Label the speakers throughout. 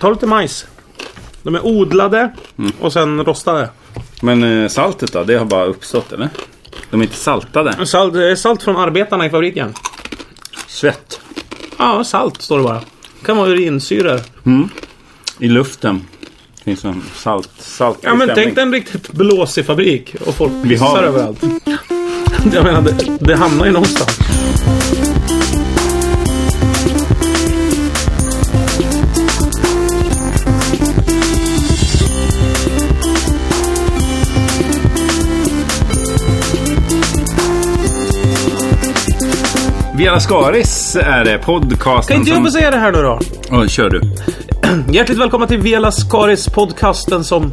Speaker 1: Ta lite majs. De är odlade och sen rostade.
Speaker 2: Men eh, saltet då? Det har bara uppstått eller? De är inte saltade?
Speaker 1: Salt, det är salt från arbetarna i fabriken.
Speaker 2: Svett.
Speaker 1: Ja, salt står det bara. Det kan vara urinsyror.
Speaker 2: I luften. Finns en salt, salt
Speaker 1: Ja, men
Speaker 2: bestämning.
Speaker 1: tänk dig en riktigt blåsig fabrik och folk
Speaker 2: Vi har-
Speaker 1: pissar överallt. Jag menar, det, det hamnar ju någonstans.
Speaker 2: Vela Skaris är det. Podcasten
Speaker 1: Kan inte jag
Speaker 2: som...
Speaker 1: få säga det här nu då?
Speaker 2: Åh, kör du.
Speaker 1: Hjärtligt välkomna till Velas Karis podcasten som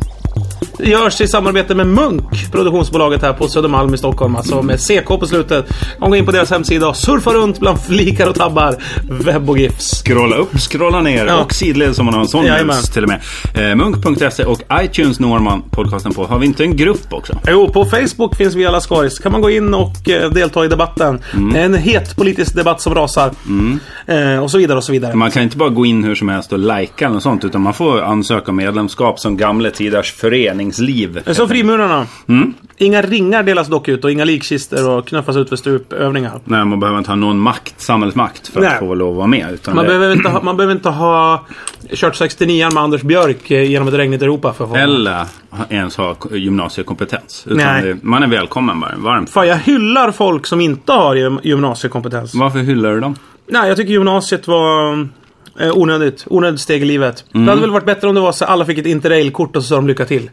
Speaker 1: görs i samarbete med Munk, produktionsbolaget här på Södermalm i Stockholm, alltså med CK på slutet. Om går in på deras hemsida och surfar runt bland flikar och tabbar, webb och gifs.
Speaker 2: Scrolla upp, scrolla ner
Speaker 1: Ja.
Speaker 2: och sidledes om man har en sån
Speaker 1: Jajamän.
Speaker 2: mus till och med. Eh, Munk.se och iTunes når man podcasten på. Har vi inte en grupp också?
Speaker 1: Jo, på Facebook finns Vela Skaris. kan man gå in och eh, delta i debatten. En het politisk debatt som rasar. Eh, och så vidare och så vidare.
Speaker 2: Man kan inte bara gå in hur som helst och lajka eller något sånt utan man får ansöka om medlemskap som gamla tiders föreningsliv.
Speaker 1: Eh, Som frimurarna. Inga ringar delas dock ut och inga likkister och knuffas ut för stupövningar.
Speaker 2: Nej, man behöver inte ha någon makt, samhällsmakt för
Speaker 1: Nej.
Speaker 2: att få lov att vara med. Utan
Speaker 1: Man
Speaker 2: det...
Speaker 1: behöver, inte ha, man behöver inte ha kört 69 med Anders Björk eh, genom ett regnigt Europa för att få
Speaker 2: Eller ens ha k- gymnasiekompetens. Utan
Speaker 1: Nej.
Speaker 2: Det, man är välkommen bara. Varmt.
Speaker 1: Fan, jag hyllar folk som inte har gym- gymnasiekompetens.
Speaker 2: Varför hyllar du dem?
Speaker 1: Nej, jag tycker gymnasiet var eh, onödigt. Onödigt steg i livet. Det hade väl varit bättre om det var så att alla fick ett interrailkort och så sa de lycka till.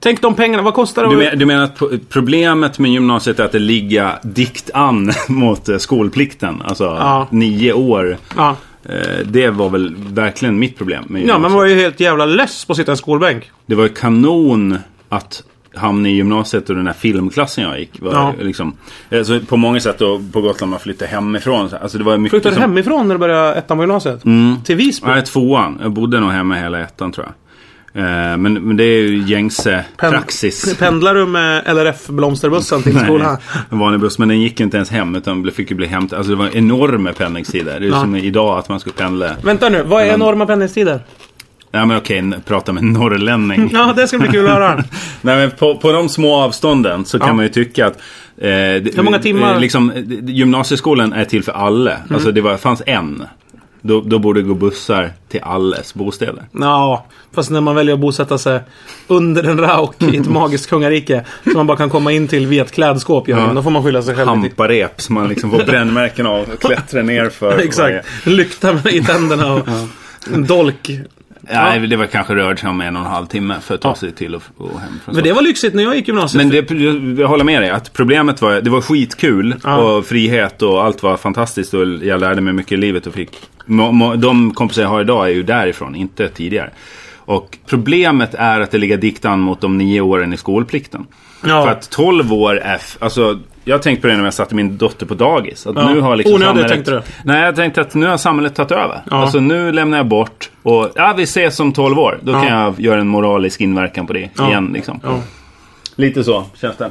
Speaker 1: Tänk de pengarna, vad kostar det?
Speaker 2: Du,
Speaker 1: att-
Speaker 2: men, du menar att po- problemet med gymnasiet är att det ligger dikt an mot eh, skolplikten? Alltså
Speaker 1: Ja.
Speaker 2: nio år.
Speaker 1: Ja.
Speaker 2: Eh, Det var väl verkligen mitt problem med
Speaker 1: ja,
Speaker 2: gymnasiet.
Speaker 1: men man var ju helt jävla less på att sitta i en skolbänk.
Speaker 2: Det var ju kanon att hamna i gymnasiet och den här filmklassen jag gick. Var
Speaker 1: Ja.
Speaker 2: liksom, eh, så på många sätt då, på Gotland man flyttade hemifrån. så- Alltså det var mycket
Speaker 1: Flyttade
Speaker 2: som,
Speaker 1: hemifrån när du började ettan på gymnasiet? Till Visby?
Speaker 2: Nej, tvåan. Jag bodde nog hemma hela ettan tror jag. Eh, Men, men det är ju gängse
Speaker 1: Pen-
Speaker 2: praxis.
Speaker 1: Pendlar du med LRF-blomsterbussen till skolan?
Speaker 2: Nej, en vanlig buss. Men den gick inte ens hem utan blev- fick ju bli hämtad. Alltså det var enorma pendlingstider. Det är ju
Speaker 1: Ja.
Speaker 2: som idag att man ska pendla.
Speaker 1: Vänta nu, vad är enorma pendlingstider?
Speaker 2: Ja men okej, n- prata med en norrlänning.
Speaker 1: Ja, det ska bli kul att höra.
Speaker 2: Nej men på, på de små avstånden så kan
Speaker 1: Ja.
Speaker 2: man ju tycka att eh, Hur
Speaker 1: många timmar? Mm.
Speaker 2: liksom, eh, gymnasieskolan är till för alla. Alltså det var, fanns en. Då, då borde det gå bussar till alles bostäder.
Speaker 1: Ja, fast när man väljer att bosätta sig under en rauk i ett magiskt kungarike som man bara kan komma in till via ett klädskåp, ja.
Speaker 2: Ja.
Speaker 1: då får man skylla sig själv. lite.
Speaker 2: Hamparep som man liksom får brännmärken av och klättrar ner för.
Speaker 1: Exakt. Lykta med- i tänderna och en dolk.
Speaker 2: Nej, det var kanske rörde sig om en och en halv timme för att ta sig till och, och hem från
Speaker 1: Men det var lyxigt när jag gick gymnasiet.
Speaker 2: Men det, jag håller med dig. Att problemet var, det var skitkul och frihet och allt var fantastiskt och jag lärde mig mycket i livet och fick. må- må- De kompisar jag har idag är ju därifrån, inte tidigare. Och problemet är att det ligger dikt an mot de nio åren i skolplikten.
Speaker 1: Ja.
Speaker 2: För att 12 år är, f- alltså jag tänkte på det när jag satte min dotter på dagis. Att
Speaker 1: Ja.
Speaker 2: nu har liksom
Speaker 1: Onödigt,
Speaker 2: samhället,
Speaker 1: tänkte du?
Speaker 2: Nej, jag tänkte att nu har samhället tagit över.
Speaker 1: Ja.
Speaker 2: Alltså nu lämnar jag bort och ja, vi ses om 12 år. Då kan jag göra en moralisk inverkan på det
Speaker 1: Ja.
Speaker 2: igen liksom.
Speaker 1: Ja.
Speaker 2: Lite så känns det.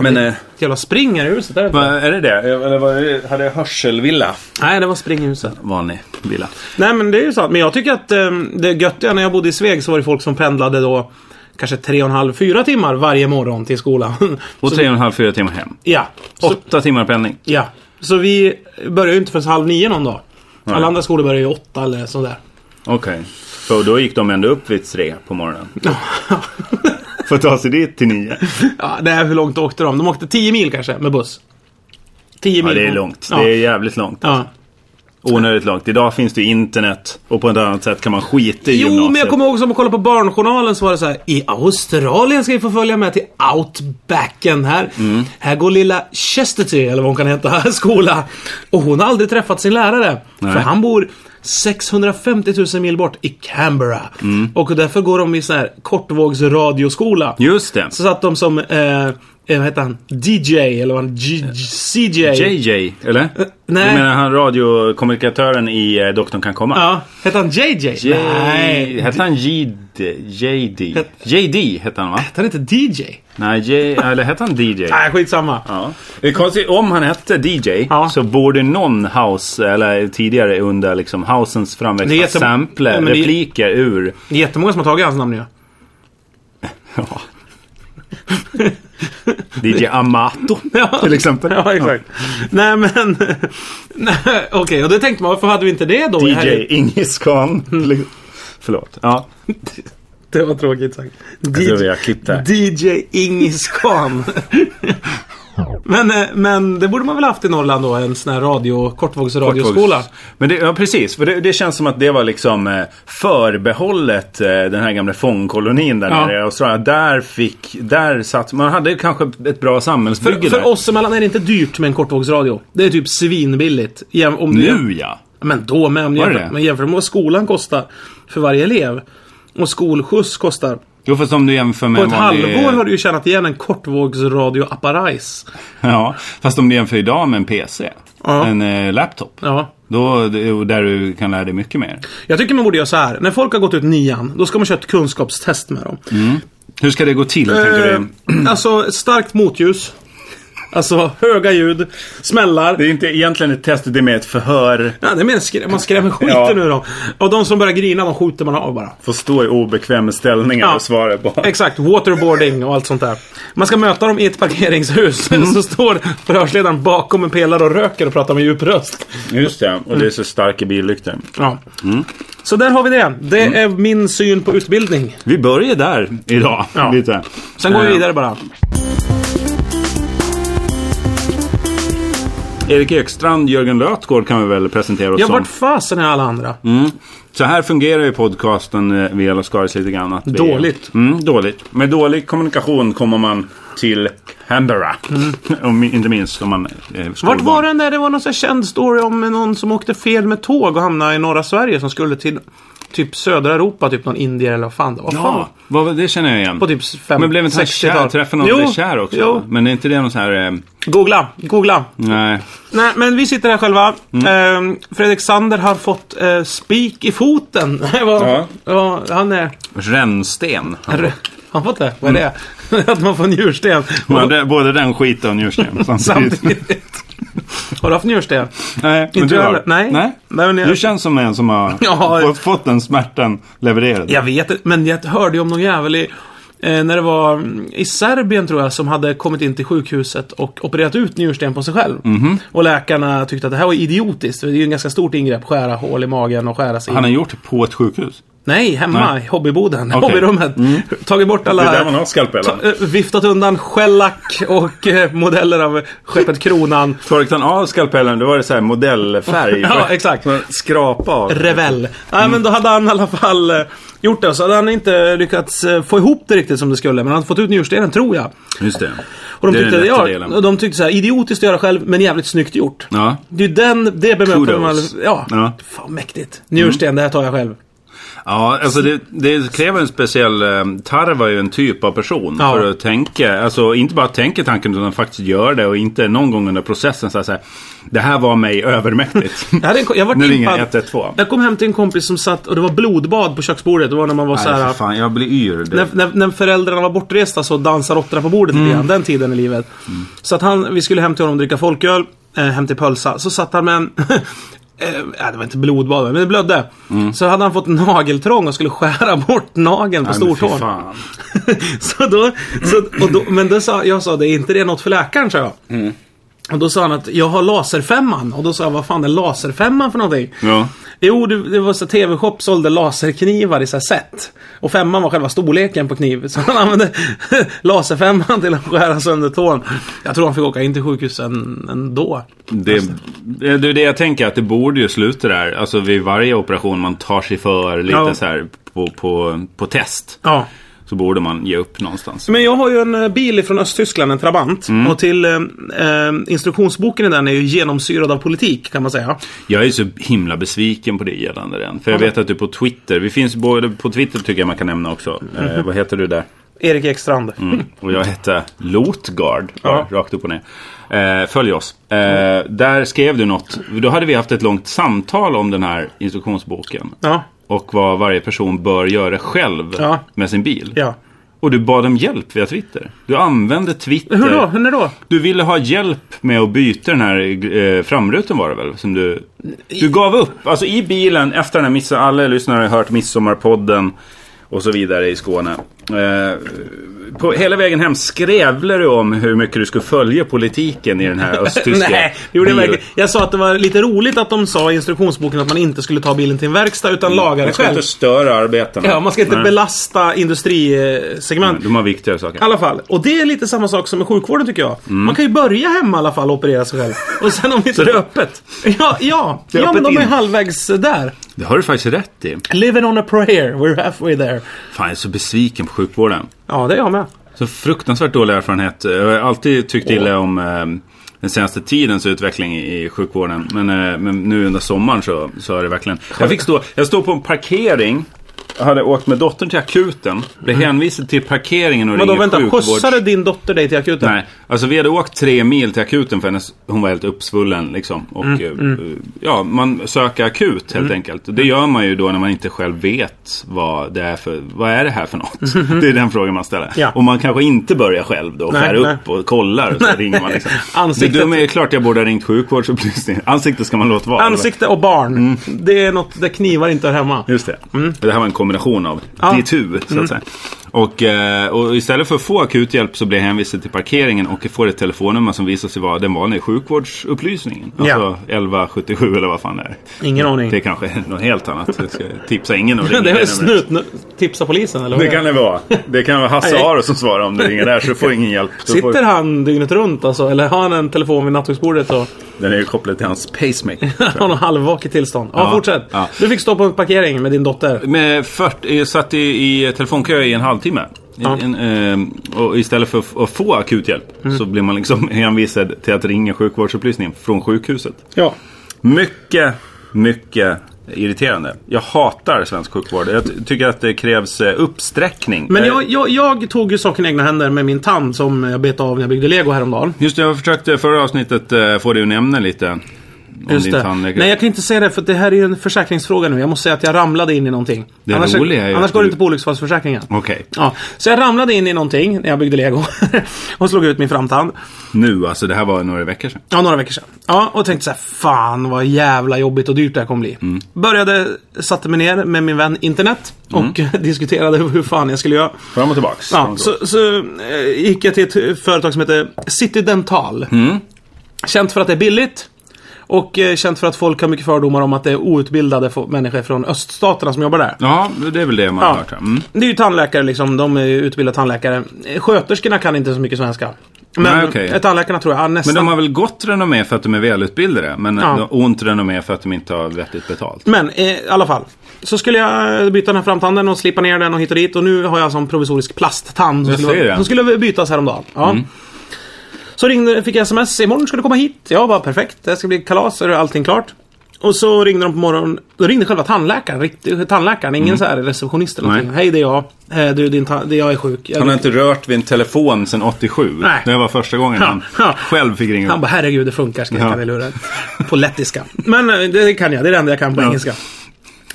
Speaker 2: Men eh,
Speaker 1: Ett Jävla spring här i huset. Är det inte?
Speaker 2: vad- är det det? Eller vad är det? hade jag hörselvilla?
Speaker 1: Nej, det var spring i huset.
Speaker 2: Vanlig villa.
Speaker 1: Nej, men det är ju sant. Men jag tycker att eh, det göttiga när jag bodde i Sveg så var det folk som pendlade då kanske tre och en halv, fyra timmar varje morgon till skolan.
Speaker 2: Och tre och en halv, fyra timmar hem.
Speaker 1: ja. Så-
Speaker 2: Åtta timmar pendling.
Speaker 1: Ja, så vi börjar ju inte förrän halv nio någon dag. Alla andra skolor börjar ju åtta eller sådär.
Speaker 2: Okej. Så då gick de ändå upp vid tre på morgonen. För att ta sig dit till nio.
Speaker 1: Ja, det är hur långt åkte de? De åkte 10 mil kanske med buss. 10
Speaker 2: Ja,
Speaker 1: mil.
Speaker 2: det är långt.
Speaker 1: Ja.
Speaker 2: Det är jävligt långt.
Speaker 1: ja.
Speaker 2: Onödigt långt. Idag finns det ju internet och på ett annat sätt kan man skita i
Speaker 1: Jo,
Speaker 2: gymnasiet.
Speaker 1: men jag kommer ihåg som att kolla på Barnjournalen så var det så här. I Australien ska vi få följa med till outbacken här. Här går lilla Chesterty, eller vad hon kan heta, skola. Och hon har aldrig träffat sin lärare. För han bor 650 000 mil bort i Canberra.
Speaker 2: Mm.
Speaker 1: Och därför går de i så här kortvågsradioskola.
Speaker 2: Just det.
Speaker 1: Så satt de som eh, eh, vad heter han? DJ eller vad han? G- G- CJ.
Speaker 2: JJ, eller?
Speaker 1: nej.
Speaker 2: Du menar han radiokommunikatören i eh, Doktorn kan komma?
Speaker 1: Ja, hette han JJ?
Speaker 2: J-
Speaker 1: Nej.
Speaker 2: Hette han JD? JD? JD hette han va?
Speaker 1: Hette han inte DJ?
Speaker 2: Nej, J, eller hette han DJ?
Speaker 1: Nej, skitsamma.
Speaker 2: Ja. Det är konstigt, om han hette DJ
Speaker 1: Ja.
Speaker 2: så borde någon house, eller tidigare under liksom housens framväxt,
Speaker 1: Det är
Speaker 2: ha
Speaker 1: jätte-
Speaker 2: sampler,
Speaker 1: Ja, men det-
Speaker 2: repliker ur...
Speaker 1: Det är jättemånga som har tagit hans namn ju.
Speaker 2: Ja. DJ Amato
Speaker 1: Ja.
Speaker 2: till exempel.
Speaker 1: Ja, exakt. Nej, men... Nej, Okej, och då tänkte man varför hade vi inte det då?
Speaker 2: DJ
Speaker 1: Här- Mm.
Speaker 2: Ingis Khan. Liksom. Förlåt. Ja.
Speaker 1: Det var tråkigt sagt.
Speaker 2: tror vi har klippt det
Speaker 1: DJ Ingis Khan. men, eh, men det borde man väl haft i Norrland då? En sån här radio, kortvågsradioskola.
Speaker 2: Men det, ja, precis. För det, det känns som att det var liksom eh, förbehållet eh, den här gamla fångkolonin där
Speaker 1: Ja.
Speaker 2: nere i Australien. Där fick, där satt, man hade ju kanske ett bra samhällsbygge
Speaker 1: För, för
Speaker 2: där.
Speaker 1: oss emellan är det inte dyrt med en kortvågsradio. Det är typ svinbilligt. Jäm- Om du
Speaker 2: Nu ja!
Speaker 1: Men då med. Om du
Speaker 2: Var det
Speaker 1: jämför,
Speaker 2: det?
Speaker 1: men jämför med vad skolan kostar för varje elev. Och skolskjuts kostar.
Speaker 2: Jo fast om du jämför med
Speaker 1: På ett
Speaker 2: en vanlig-
Speaker 1: halvår har du ju tjänat igen en kortvågsradioapparajs.
Speaker 2: Ja, fast om du jämför idag med en PC.
Speaker 1: Ja.
Speaker 2: En eh, laptop.
Speaker 1: Ja.
Speaker 2: Då, det- och där du kan lära dig mycket mer.
Speaker 1: Jag tycker man borde göra så här. När folk har gått ut nian, då ska man köra ett kunskapstest med dem.
Speaker 2: Hur ska det gå till, Mm, tänker du?
Speaker 1: Eh, alltså, starkt motljus. Alltså, höga ljud. Smällar.
Speaker 2: Det är inte egentligen ett test, det är mer ett förhör.
Speaker 1: Ja, det är mer skrä- man skrämmer skiten
Speaker 2: Ja.
Speaker 1: ur dem. Och de som börjar grina, de skjuter man av bara.
Speaker 2: Får stå i obekväma ställningar
Speaker 1: Ja.
Speaker 2: och svara på.
Speaker 1: Exakt, waterboarding och allt sånt där. Man ska möta dem i ett parkeringshus.
Speaker 2: Mm.
Speaker 1: Så står förhörsledaren bakom en pelare och röker och pratar med djup röst.
Speaker 2: Just det, och det är så starka billyktor.
Speaker 1: Ja.
Speaker 2: Mm.
Speaker 1: Så där har vi det. Det är min syn på utbildning.
Speaker 2: Vi börjar där idag.
Speaker 1: Ja.
Speaker 2: Lite.
Speaker 1: Sen går vi
Speaker 2: Eh,
Speaker 1: vidare bara.
Speaker 2: Erik Ekstrand, Jörgen Lötgård kan vi väl presentera oss
Speaker 1: Ja,
Speaker 2: som.
Speaker 1: vart fasen är alla andra?
Speaker 2: Mm. Så här fungerar ju podcasten eh, Vela Skaris lite grann. Att vi-
Speaker 1: Dåligt.
Speaker 2: Mm, dåligt. Med dålig kommunikation kommer man till Canberra. Mm. Om, inte minst om man eh,
Speaker 1: Vart var den där det var någon sån här känd story om någon som åkte fel med tåg och hamnade i norra Skolberg som skulle till typ södra Europa, typ någon indier eller vad fan det var.
Speaker 2: Ja,
Speaker 1: Fan.
Speaker 2: vad, var- det känner jag igen.
Speaker 1: På typ fem-
Speaker 2: Men blev inte han
Speaker 1: 60-tal?
Speaker 2: kär? Träffade någon
Speaker 1: Jo,
Speaker 2: som blev kär också?
Speaker 1: jo.
Speaker 2: Men är inte det någon sån här... Eh,
Speaker 1: Googla, googla.
Speaker 2: nej.
Speaker 1: Nej, men vi sitter här själva.
Speaker 2: Mm.
Speaker 1: Ehm, Fredrik Sander har fått eh, spik i foten. Det var,
Speaker 2: Ja.
Speaker 1: ja, han är...
Speaker 2: Rännsten.
Speaker 1: Han har fått det? Vad är
Speaker 2: Mm.
Speaker 1: det? Att man får njursten.
Speaker 2: Men det- Både den skiten och njursten samtidigt.
Speaker 1: Samtidigt. Har du haft njursten?
Speaker 2: Nej, men
Speaker 1: Inte
Speaker 2: du
Speaker 1: jag
Speaker 2: har.
Speaker 1: heller. Nej.
Speaker 2: Nej.
Speaker 1: Nej, men jag-
Speaker 2: Du känns som en som har
Speaker 1: Ja.
Speaker 2: fått, fått den smärtan levererad.
Speaker 1: Jag vet inte, men jag hörde ju om någon jävel i, eh, när det var mm, i Serbien tror jag som hade kommit in till sjukhuset och opererat ut njursten på sig själv.
Speaker 2: Mhm.
Speaker 1: Och läkarna tyckte att det här var idiotiskt. för Det är ju en ganska stort ingrepp. Skära hål i magen och skära sig
Speaker 2: Han
Speaker 1: in.
Speaker 2: har gjort det på ett sjukhus.
Speaker 1: Nej, hemma
Speaker 2: Nej.
Speaker 1: i hobbyboden.
Speaker 2: Okej. Mm.
Speaker 1: Hobbyrummet. Tagit bort alla...
Speaker 2: skalpellen.
Speaker 1: Ta- eh, Viftat undan shellack och eh, modeller av skeppet Kronan.
Speaker 2: Torkade han av skalpellen, då var det så här modellfärg.
Speaker 1: Ja, exakt.
Speaker 2: Så man Skrapa av.
Speaker 1: Revell. Nej, men då hade han i alla fall eh, gjort det. Så hade han inte lyckats eh, få ihop det riktigt som det skulle. Men han hade fått ut njurstenen, tror jag.
Speaker 2: Just det.
Speaker 1: Och de
Speaker 2: det är
Speaker 1: tyckte,
Speaker 2: den lätta
Speaker 1: ja,
Speaker 2: delen.
Speaker 1: och de tyckte så här, idiotiskt att göra själv, men jävligt snyggt gjort.
Speaker 2: Ja.
Speaker 1: Det är ju den, det bemöter man.
Speaker 2: Kudos.
Speaker 1: Ja.
Speaker 2: Ja.
Speaker 1: Fan mäktigt. Njursten, det här tar jag själv.
Speaker 2: Ja, alltså det, det kräver en speciell... eh, Tarv är ju en typ av person
Speaker 1: Ja.
Speaker 2: för att tänka. Alltså inte bara tänka tanken utan faktiskt göra det och inte någon gång under processen så här, så här Det här var mig övermäktigt.
Speaker 1: Jag, hade en, ko- jag
Speaker 2: Nu
Speaker 1: var
Speaker 2: ringer
Speaker 1: impad.
Speaker 2: 112.
Speaker 1: Jag kom hem till en kompis som satt och det var blodbad på köksbordet. Det var när man var så
Speaker 2: Nej,
Speaker 1: här.
Speaker 2: för fan, jag blir yr. du.
Speaker 1: När, när, när föräldrarna var bortresta så dansade råttorna på bordet
Speaker 2: Mm.
Speaker 1: lite grann. Den tiden i livet. Så att han, vi skulle hem till honom och dricka folköl. Eh, hem till Pölsa. Så satt han med en... eh, nej, det var inte blodbad, men det blödde.
Speaker 2: Mm.
Speaker 1: Så hade han fått nageltrång och skulle skära bort nageln på
Speaker 2: Nej, men fy
Speaker 1: stortån.
Speaker 2: fan.
Speaker 1: så då, så, och då, men då sa, jag sa det, är inte det något för läkaren? sa jag.
Speaker 2: Mm.
Speaker 1: Och då sa han att jag har laserfemman. Och då sa jag, vad fan är laserfemman för någonting?
Speaker 2: Ja.
Speaker 1: Jo, det, det var så TV-shop sålde laserknivar i så här set. Och femman var själva storleken på kniv. Så han använde laserfemman till att skära sönder tån. Jag tror han fick åka in till sjukhuset än- ändå.
Speaker 2: Det, det, det är det jag tänker att det borde ju sluta där. Alltså vid varje operation man tar sig för lite
Speaker 1: Ja.
Speaker 2: så här på, på, på test.
Speaker 1: Ja.
Speaker 2: Så borde man ge upp någonstans.
Speaker 1: Men jag har ju en eh, bil från Östtyskland, en Trabant. Och till eh, eh, instruktionsboken i den är ju genomsyrad av politik kan man säga.
Speaker 2: Jag är så himla besviken på det
Speaker 1: Mhm.
Speaker 2: gällande den. För jag vet att du på Twitter, vi finns både på Twitter tycker jag man kan nämna också. Eh, vad heter du där?
Speaker 1: Erik Ekstrand.
Speaker 2: Och jag hette Lotgard,
Speaker 1: Ja.
Speaker 2: rakt upp och ner. Eh, följ oss. Eh, Där skrev du något. Då hade vi haft ett långt samtal om den här instruktionsboken.
Speaker 1: Ja.
Speaker 2: Och vad varje person bör göra själv
Speaker 1: Ja.
Speaker 2: med sin bil.
Speaker 1: Ja.
Speaker 2: Och du bad om hjälp via Twitter. Du använde Twitter.
Speaker 1: Hur då? Hur när då?
Speaker 2: Du ville ha hjälp med att byta den här eh, framrutan var det väl? Som du, du gav upp. Alltså i bilen efter den här missen, alla lyssnare har hört Midsommarpodden och så vidare i Skåne. Eh, på, hela vägen hem skrävlade du om hur mycket du skulle följa politiken i den här östtyska
Speaker 1: Nej, det gjorde jag
Speaker 2: bilen.
Speaker 1: verkligen. Jag sa att det var lite roligt att de sa i instruktionsboken att man inte skulle ta bilen till en verkstad utan laga det
Speaker 2: Man ska
Speaker 1: själv.
Speaker 2: inte störa arbetarna.
Speaker 1: Ja, man ska inte
Speaker 2: Nej.
Speaker 1: belasta industrisegment.
Speaker 2: De har viktigare saker.
Speaker 1: I alla fall. Och det är lite samma sak som med sjukvården tycker jag. Man kan ju börja hemma i alla fall och operera sig själv. Och sen om inte...
Speaker 2: Mm. Så det är öppet.
Speaker 1: Ja, ja.
Speaker 2: är
Speaker 1: ja men
Speaker 2: öppet
Speaker 1: de är
Speaker 2: in.
Speaker 1: halvvägs där.
Speaker 2: Det har du faktiskt rätt i.
Speaker 1: Living on a prayer, we're halfway there.
Speaker 2: Fan, jag är så besviken på sjukvården.
Speaker 1: Ja, det är jag med.
Speaker 2: Så fruktansvärt dålig erfarenhet. Jag har alltid tyckt illa om eh, den senaste tidens utveckling i sjukvården. Men, eh, men nu under sommaren så, så är det verkligen... Jag fick stå, jag stod på en parkering. Jag hade åkt med dottern till akuten. Blev hänvisad till parkeringen och
Speaker 1: Mm. Men då
Speaker 2: ringde
Speaker 1: vänta,
Speaker 2: sjukvårds...
Speaker 1: skjutsade din dotter dig till akuten?
Speaker 2: Nej, alltså vi hade åkt tre mil till akuten för hennes, hon var helt uppsvullen liksom. Och
Speaker 1: Mm,
Speaker 2: eh, ja, man söker akut helt enkelt. Det gör man ju då när man inte själv vet vad det är för, vad är det här för något? Det är den frågan man ställer.
Speaker 1: Mm-hmm. Ja.
Speaker 2: Och man kanske inte börjar själv då och
Speaker 1: Nej,
Speaker 2: skär
Speaker 1: nej.
Speaker 2: upp och kollar och så ringer man liksom.
Speaker 1: Ansiktet-
Speaker 2: Det dumma är ju klart jag borde ha ringt sjukvårdsupplysningen. Ansiktet ska man låta vara.
Speaker 1: Ansikte och barn. Det är något där knivar inte hör hemma.
Speaker 2: Just Mm. det. Det här var en kombination av
Speaker 1: Mm. Ja. Mm.
Speaker 2: DTU, så att säga. Och, eh, och istället för att få akuthjälp så blir jag hänvisad till parkeringen och får ett telefonnummer som visar sig vara den vanliga sjukvårdsupplysningen. Alltså
Speaker 1: Ja.
Speaker 2: 1177 eller vad fan det är.
Speaker 1: Ingen aning.
Speaker 2: Det är kanske är något helt annat. Jag ska tipsa ingen om
Speaker 1: Det är väl snut... Tipsa polisen eller vad
Speaker 2: Det kan det vara. Det kan vara Hasse
Speaker 1: Nej.
Speaker 2: Aro som svarar om du ringer där så får ingen hjälp. Då
Speaker 1: Sitter
Speaker 2: får...
Speaker 1: han dygnet runt alltså? Eller har han en telefon vid nattduksbordet och
Speaker 2: Den är ju kopplad till hans pacemaker.
Speaker 1: har någon halvvaket tillstånd? Ja,
Speaker 2: Ja,
Speaker 1: fortsätt.
Speaker 2: ja.
Speaker 1: Du fick stå på en parkering med din dotter.
Speaker 2: Med 40, jag satt i, i telefonkö i en halvtimme. I-
Speaker 1: Ja.
Speaker 2: En, ehm, och istället för att- att få akut hjälp så blir man liksom hänvisad till att ringa sjukvårdsupplysningen från sjukhuset.
Speaker 1: Ja.
Speaker 2: Mycket, mycket irriterande. Jag hatar svensk sjukvård. Jag ty- tycker att det krävs eh, uppsträckning.
Speaker 1: Men
Speaker 2: Eh,
Speaker 1: jag, jag, jag tog ju saken i egna händer med min tand som jag bet av när jag byggde lego häromdagen.
Speaker 2: Just det, jag försökte förra avsnittet eh, få dig att nämna lite om
Speaker 1: Just
Speaker 2: din
Speaker 1: det.
Speaker 2: tandläkare.
Speaker 1: Nej, jag kan inte säga det för det här är ju en försäkringsfråga nu. Jag måste säga att jag ramlade in i någonting.
Speaker 2: Det
Speaker 1: annars
Speaker 2: roliga är ju
Speaker 1: annars
Speaker 2: att
Speaker 1: går det
Speaker 2: du-
Speaker 1: inte på olycksfallsförsäkringen.
Speaker 2: Okej,
Speaker 1: Ja, så jag ramlade in i någonting när jag byggde lego och slog ut min framtand.
Speaker 2: nu alltså. Det här var några veckor sedan.
Speaker 1: Ja, några veckor sedan. Ja, och tänkte så här, fan vad jävla jobbigt och dyrt det här kommer bli.
Speaker 2: Mm.
Speaker 1: Började, satte mig ner med min vän internet och
Speaker 2: Mm.
Speaker 1: diskuterade hur fan jag skulle göra.
Speaker 2: Fram och tillbaks. Fram
Speaker 1: Ja,
Speaker 2: och
Speaker 1: så så eh, gick jag till ett eh, företag som heter City Dental.
Speaker 2: Mm.
Speaker 1: Känt för att det är billigt. Och eh, känt för att folk har mycket fördomar om att det är outbildade fo- människor från öststaterna som jobbar där.
Speaker 2: Ja, det är väl det man har
Speaker 1: Ja.
Speaker 2: hört. här. Mm.
Speaker 1: Det är ju tandläkare liksom, de är ju utbildade tandläkare. Eh, Sköterskorna kan inte så mycket svenska. Men
Speaker 2: Nej, okej.
Speaker 1: eh, tandläkarna tror jag ah, nästan.
Speaker 2: Men
Speaker 1: Men,
Speaker 2: de har väl gott renommé för att de är välutbildade. Men
Speaker 1: Ja.
Speaker 2: de har ont renommé för att de inte har vettigt betalt.
Speaker 1: eh, i alla fall. Så skulle jag eh, byta den här framtanden och slipa ner den och hit och dit. Och nu har jag som provisorisk plasttand. Som
Speaker 2: Jag ser
Speaker 1: skulle,
Speaker 2: det. Mm.
Speaker 1: som skulle bytas häromdagen. Ja. Så ringde, fick jag sms. Imorgon ska du komma hit. Jag bara perfekt. Det ska bli kalas. Är allting klart? Och så ringde de på morgonen. Då ringde själva tandläkaren. Riktig, tandläkaren. Ingen så här receptionist eller
Speaker 2: Mm. Nej.
Speaker 1: någonting. Hej det är jag. Eh, Du, din ta- det är jag är sjuk. Jag
Speaker 2: Han har inte rört vid en telefon sedan 87.
Speaker 1: Nej.
Speaker 2: Det var första gången han
Speaker 1: Ja.
Speaker 2: själv fick ringa
Speaker 1: Han
Speaker 2: upp.
Speaker 1: bara herregud det funkar skrek
Speaker 2: Ja.
Speaker 1: han i luren. På lettiska. Men eh, det kan jag, det är det enda jag kan på
Speaker 2: Ja.
Speaker 1: engelska.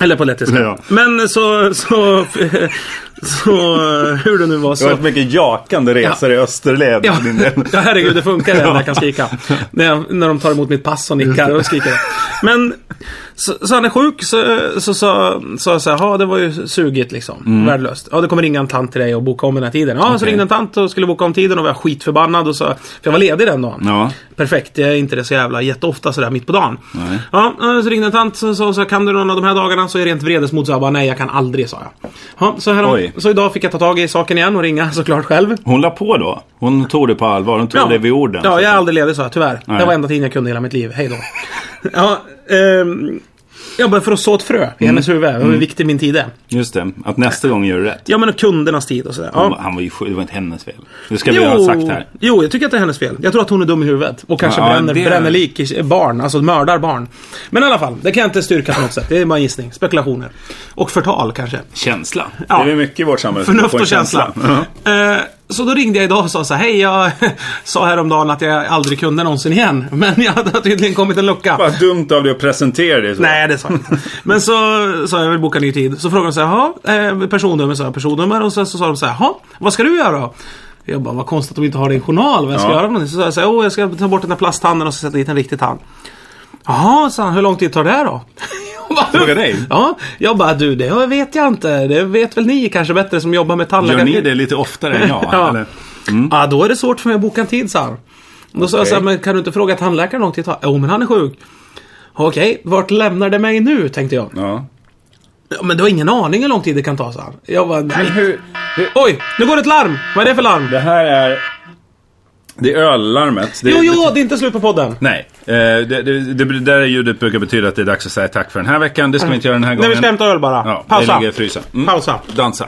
Speaker 1: Eller på lettiska.
Speaker 2: Ja.
Speaker 1: Men eh, så, så, så, hur det nu var så.
Speaker 2: mycket jakande resor i österled.
Speaker 1: Ja, ja herregud det funkar det enda jag kan skrika. När, jag, när de tar emot mitt pass och nickar och skriker jag. Men så, så han är sjuk så så sa så, jag så här, "Ja, det var ju sugigt liksom. Värdelöst. Ja det kommer ringa en tant till dig och boka om den här tiden. Ja så
Speaker 2: Mm. Okej.
Speaker 1: ringde en tant och skulle boka om tiden och var skitförbannad och så. För jag var ledig den dagen.
Speaker 2: Ja.
Speaker 1: Perfekt, jag är inte det så jävla jätteofta sådär mitt på dagen.
Speaker 2: Nej.
Speaker 1: Ja, eh, så ringde en tant och sa så här, kan du någon av de här dagarna så är det rent vredesmod. Så jag bara, nej jag kan aldrig sa jag. Ja, så, här,
Speaker 2: Oj.
Speaker 1: så idag fick jag ta tag i saken igen och ringa såklart själv.
Speaker 2: Hon la på då. Hon tog det på allvar. Hon tog det vid orden.
Speaker 1: Ja,
Speaker 2: Så
Speaker 1: jag är
Speaker 2: att-
Speaker 1: aldrig ledig sa jag, tyvärr.
Speaker 2: Nej.
Speaker 1: Det var enda tiden jag kunde i hela mitt liv. Hej då. ja, ehm, Ja, bara för att så ett frö
Speaker 2: Mm.
Speaker 1: i hennes huvud. Hur viktig min tid är.
Speaker 2: Just det, att nästa gång gör du rätt.
Speaker 1: Ja, men och kundernas tid och sådär.
Speaker 2: Han,
Speaker 1: Ja.
Speaker 2: han var ju sjuk, det var inte hennes fel. Det ska vi ha sagt här.
Speaker 1: jo, jag tycker att det är hennes fel. Jag tror att hon är dum i huvudet. Och kanske
Speaker 2: Ja,
Speaker 1: bränner,
Speaker 2: det-
Speaker 1: bränner lik i barn. Alltså mördar barn. Men i alla fall, det kan jag inte styrka på något sätt. Det är bara en gissning. Spekulationer. Och förtal kanske.
Speaker 2: Känsla.
Speaker 1: Ja.
Speaker 2: Det är väl mycket i vårt samhälle. som
Speaker 1: Förnuft
Speaker 2: får en
Speaker 1: och känsla. Eh, Så då ringde jag idag och sa så här, hej jag sa häromdagen att jag aldrig kunde någonsin igen. Men jag hade tydligen kommit en lucka.
Speaker 2: Vad dumt av dig att presentera dig så.
Speaker 1: Nej, det sa jag inte. Men så sa jag, jag vill boka ny tid. Så frågade de så här, jaha, eh, personnummer, sa jag, personnummer. Och sen så sa de så här, jaha, vad ska du göra då? Jag bara, vad konstigt att de inte har din journal, vad jag ska
Speaker 2: Ja.
Speaker 1: göra för någonting. Så sa jag så här, oh, jag ska ta bort den här plasthanden och så sätta dit en riktig tand. Jaha, sa han, hur lång tid tar det här då? Jag bara,
Speaker 2: Fråga dig.
Speaker 1: Ja, jag bara, du det vet jag inte. Det vet väl ni kanske bättre som jobbar med tandläkare.
Speaker 2: Gör ni det lite oftare än jag?
Speaker 1: Ja.
Speaker 2: Eller? Mm.
Speaker 1: Ja, då är det svårt för mig att boka en tid, sa han. Då sa jag
Speaker 2: Okej.
Speaker 1: så här, men kan du inte fråga tandläkaren hur lång tid det tar? Jo, men han är sjuk. Okej, vart lämnar det mig nu, tänkte jag.
Speaker 2: Ja.
Speaker 1: Ja, Men du har ingen aning hur lång tid det kan ta, sa han. Jag bara,
Speaker 2: Men
Speaker 1: nej.
Speaker 2: hur, hur...
Speaker 1: Oj, nu går det ett larm! Vad är det för larm?
Speaker 2: Det här är... Det är öllarmet. Det,
Speaker 1: Jo, jo, det är inte slut på podden.
Speaker 2: Nej, eh, det, det, det, det där ljudet brukar betyda att det är dags att säga tack för den här veckan. Det ska vi inte göra den här
Speaker 1: Mm. Nej,
Speaker 2: gången.
Speaker 1: vi ska hämta öl bara.
Speaker 2: Ja, Det
Speaker 1: Pausa.
Speaker 2: ligger i frysen. Mm.
Speaker 1: Pausa.
Speaker 2: Dansa.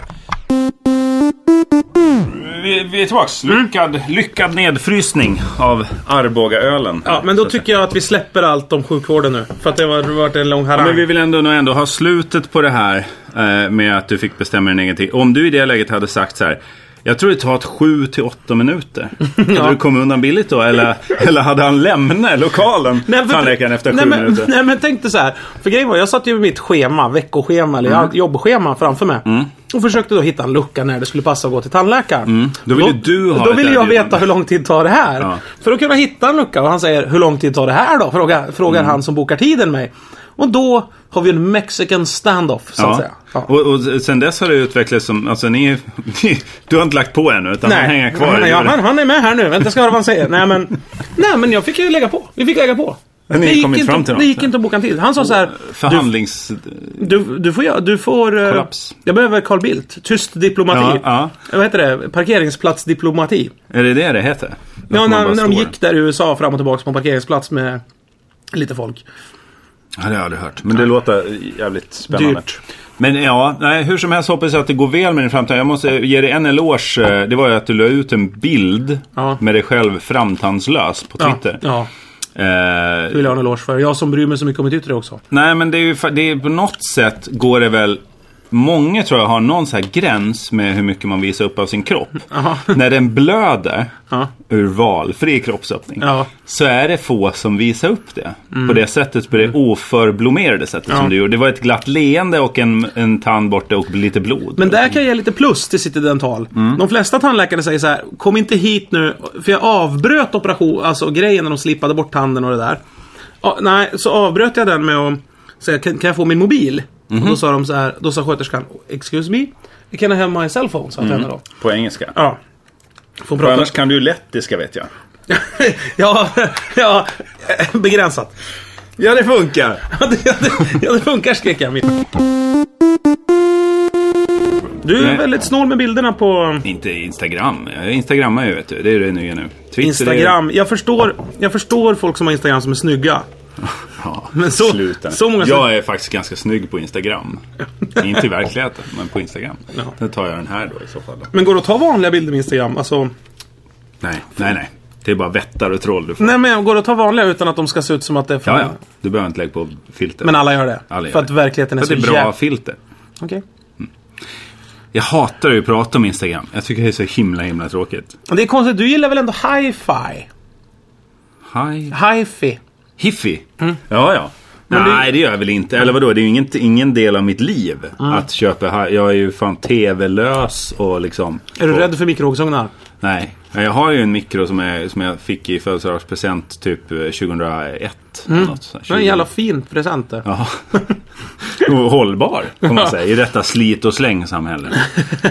Speaker 2: Vi, vi är tillbaks. Lyckad, lyckad nedfrysning av Arbogaölen.
Speaker 1: Ja, men då tycker jag att vi släpper allt om sjukvården nu. För att det har varit en lång harang.
Speaker 2: Men vi vill ändå, nog ändå ha slutet på det här eh, med att du fick bestämma din egen tid. Om du i det läget hade sagt så här. Jag tror det tar ett 7 till 8 minuter. Hade du kommit undan billigt då? Eller, eller hade han lämnat lokalen,
Speaker 1: Nej, för-
Speaker 2: tandläkaren, efter 7
Speaker 1: nej, men,
Speaker 2: minuter?
Speaker 1: Nej men tänk dig så här. För grejen var, jag satt ju med mitt schema, veckoschema eller mm. jobbschema framför mig.
Speaker 2: Mm.
Speaker 1: Och försökte då hitta en lucka när det skulle passa att gå till tandläkaren.
Speaker 2: Mm. Då vill ju du ha
Speaker 1: Då
Speaker 2: ett
Speaker 1: vill jag
Speaker 2: erbjudande.
Speaker 1: veta hur lång tid tar det här.
Speaker 2: Ja.
Speaker 1: För att kunna hitta en lucka. Och han säger, hur lång tid tar det här då? Frågar, frågar
Speaker 2: Mm.
Speaker 1: han som bokar tiden mig. Och då har vi en mexican standoff så att säga. Ja.
Speaker 2: Och, och sen dess har det utvecklats som, alltså ni, du har inte lagt på ännu utan han hänger kvar. i
Speaker 1: han, är,
Speaker 2: huvudet.
Speaker 1: han, han är med här nu. Vänta, jag ska höra vad han säger. Nej men, nej, men jag fick ju lägga på. Vi fick lägga på.
Speaker 2: Men ni
Speaker 1: det gick,
Speaker 2: kom inte
Speaker 1: inte,
Speaker 2: fram till
Speaker 1: det
Speaker 2: något,
Speaker 1: gick
Speaker 2: nej.
Speaker 1: inte att boka en tid. Han sa så här,
Speaker 2: Förhandlings...
Speaker 1: Du, du får... göra- Du får eh,
Speaker 2: Kollaps.
Speaker 1: Jag behöver Carl Bildt. Tyst diplomati. Eh,
Speaker 2: Ja,
Speaker 1: Vad heter det? Parkeringsplatsdiplomati.
Speaker 2: Är det det det heter? Att
Speaker 1: Ja,
Speaker 2: man bara
Speaker 1: när, när de
Speaker 2: står.
Speaker 1: gick där i USA fram och tillbaka på en parkeringsplats med lite folk.
Speaker 2: Ja, det har jag aldrig hört. Men det låter jävligt spännande.
Speaker 1: Dyrt.
Speaker 2: Men ja, nej, hur som helst hoppas jag att det går väl med din framtid. Jag måste ge dig en eloge. eh, Det var ju att du la ut en bild
Speaker 1: Ja.
Speaker 2: med dig själv framtandslös på
Speaker 1: Ja,
Speaker 2: Twitter.
Speaker 1: ja,
Speaker 2: Eh,
Speaker 1: det vill jag ha en eloge för. Jag som bryr mig så mycket om mitt yttre också.
Speaker 2: Nej, men det är ju fa- det är, på något sätt går det väl... Många tror jag har någon så här gräns med hur mycket man visar upp av sin kropp.
Speaker 1: Aha.
Speaker 2: När den blöder
Speaker 1: Ja.
Speaker 2: ur valfri kroppsöppning
Speaker 1: Ja.
Speaker 2: så är det få som visar upp det.
Speaker 1: Mm.
Speaker 2: På det sättet, på det oförblommerade sättet som du gjorde. Det var ett glatt leende och en, en tand borta och lite blod.
Speaker 1: Men där kan jag ge lite plus till City Dental. De flesta tandläkare säger så här, kom inte hit nu, för jag avbröt operation, alltså grejen när de slipade bort tanden och det där. Ja, nej, så avbröt jag den med att säga, kan, kan jag få min mobil? Och då sa de så här, då sa sköterskan, excuse me, can I have my cell phone? Sa mm. då.
Speaker 2: På engelska.
Speaker 1: Ja. Får prata.
Speaker 2: kan du ju lettiska vet jag.
Speaker 1: ja, ja, begränsat.
Speaker 2: Ja, det funkar.
Speaker 1: Ja, det, ja, det, ja, det funkar skrek jag. Du är
Speaker 2: Nej.
Speaker 1: väldigt snål med bilderna på
Speaker 2: Inte Instagram. Jag instagrammar ju vet du. Det är det nya nu. Twitter är-
Speaker 1: Instagram. Jag förstår, jag förstår folk som har Instagram som är snygga.
Speaker 2: Ja,
Speaker 1: Men så-
Speaker 2: sluta.
Speaker 1: så många-
Speaker 2: jag är faktiskt ganska snygg på Instagram. Inte i verkligheten, men på Instagram.
Speaker 1: Ja.
Speaker 2: Nu tar jag den här då i så fall. Då.
Speaker 1: Men går det att ta vanliga bilder med Instagram? Alltså,
Speaker 2: Nej, nej, nej. Det är bara vättar och troll du får.
Speaker 1: nej men går det att ta vanliga utan att de ska se ut som att det är från...
Speaker 2: Ja, ja. Du behöver inte lägga på filter.
Speaker 1: Men alla gör det.
Speaker 2: Alla gör
Speaker 1: för att
Speaker 2: det.
Speaker 1: verkligheten är
Speaker 2: För
Speaker 1: så
Speaker 2: att det är bra
Speaker 1: jävla...
Speaker 2: filter.
Speaker 1: Okej.
Speaker 2: Jag hatar ju att prata om Instagram. Jag tycker det är så himla, himla tråkigt.
Speaker 1: Det är konstigt, du gillar väl ändå hi-fi?
Speaker 2: Hi.
Speaker 1: Hi-fi.
Speaker 2: Hiffy? Ja, ja.
Speaker 1: Mm. Men
Speaker 2: Nej, det gör jag väl inte. Eller vadå, det är ju ingen, ingen del av mitt liv
Speaker 1: Mm.
Speaker 2: att köpa. hi- Jag är ju fan tv-lös och liksom...
Speaker 1: Är du
Speaker 2: och-
Speaker 1: rädd för mikrovågsugnar?
Speaker 2: Nej, jag har ju en mikro som jag, som jag fick i födelsedagspresent typ eh, 2001. eller Något, sånt.
Speaker 1: Mm. Det är en jävla fin present det.
Speaker 2: Ja. Och Hållbar, får man säga, i detta slit och slängsamhälle.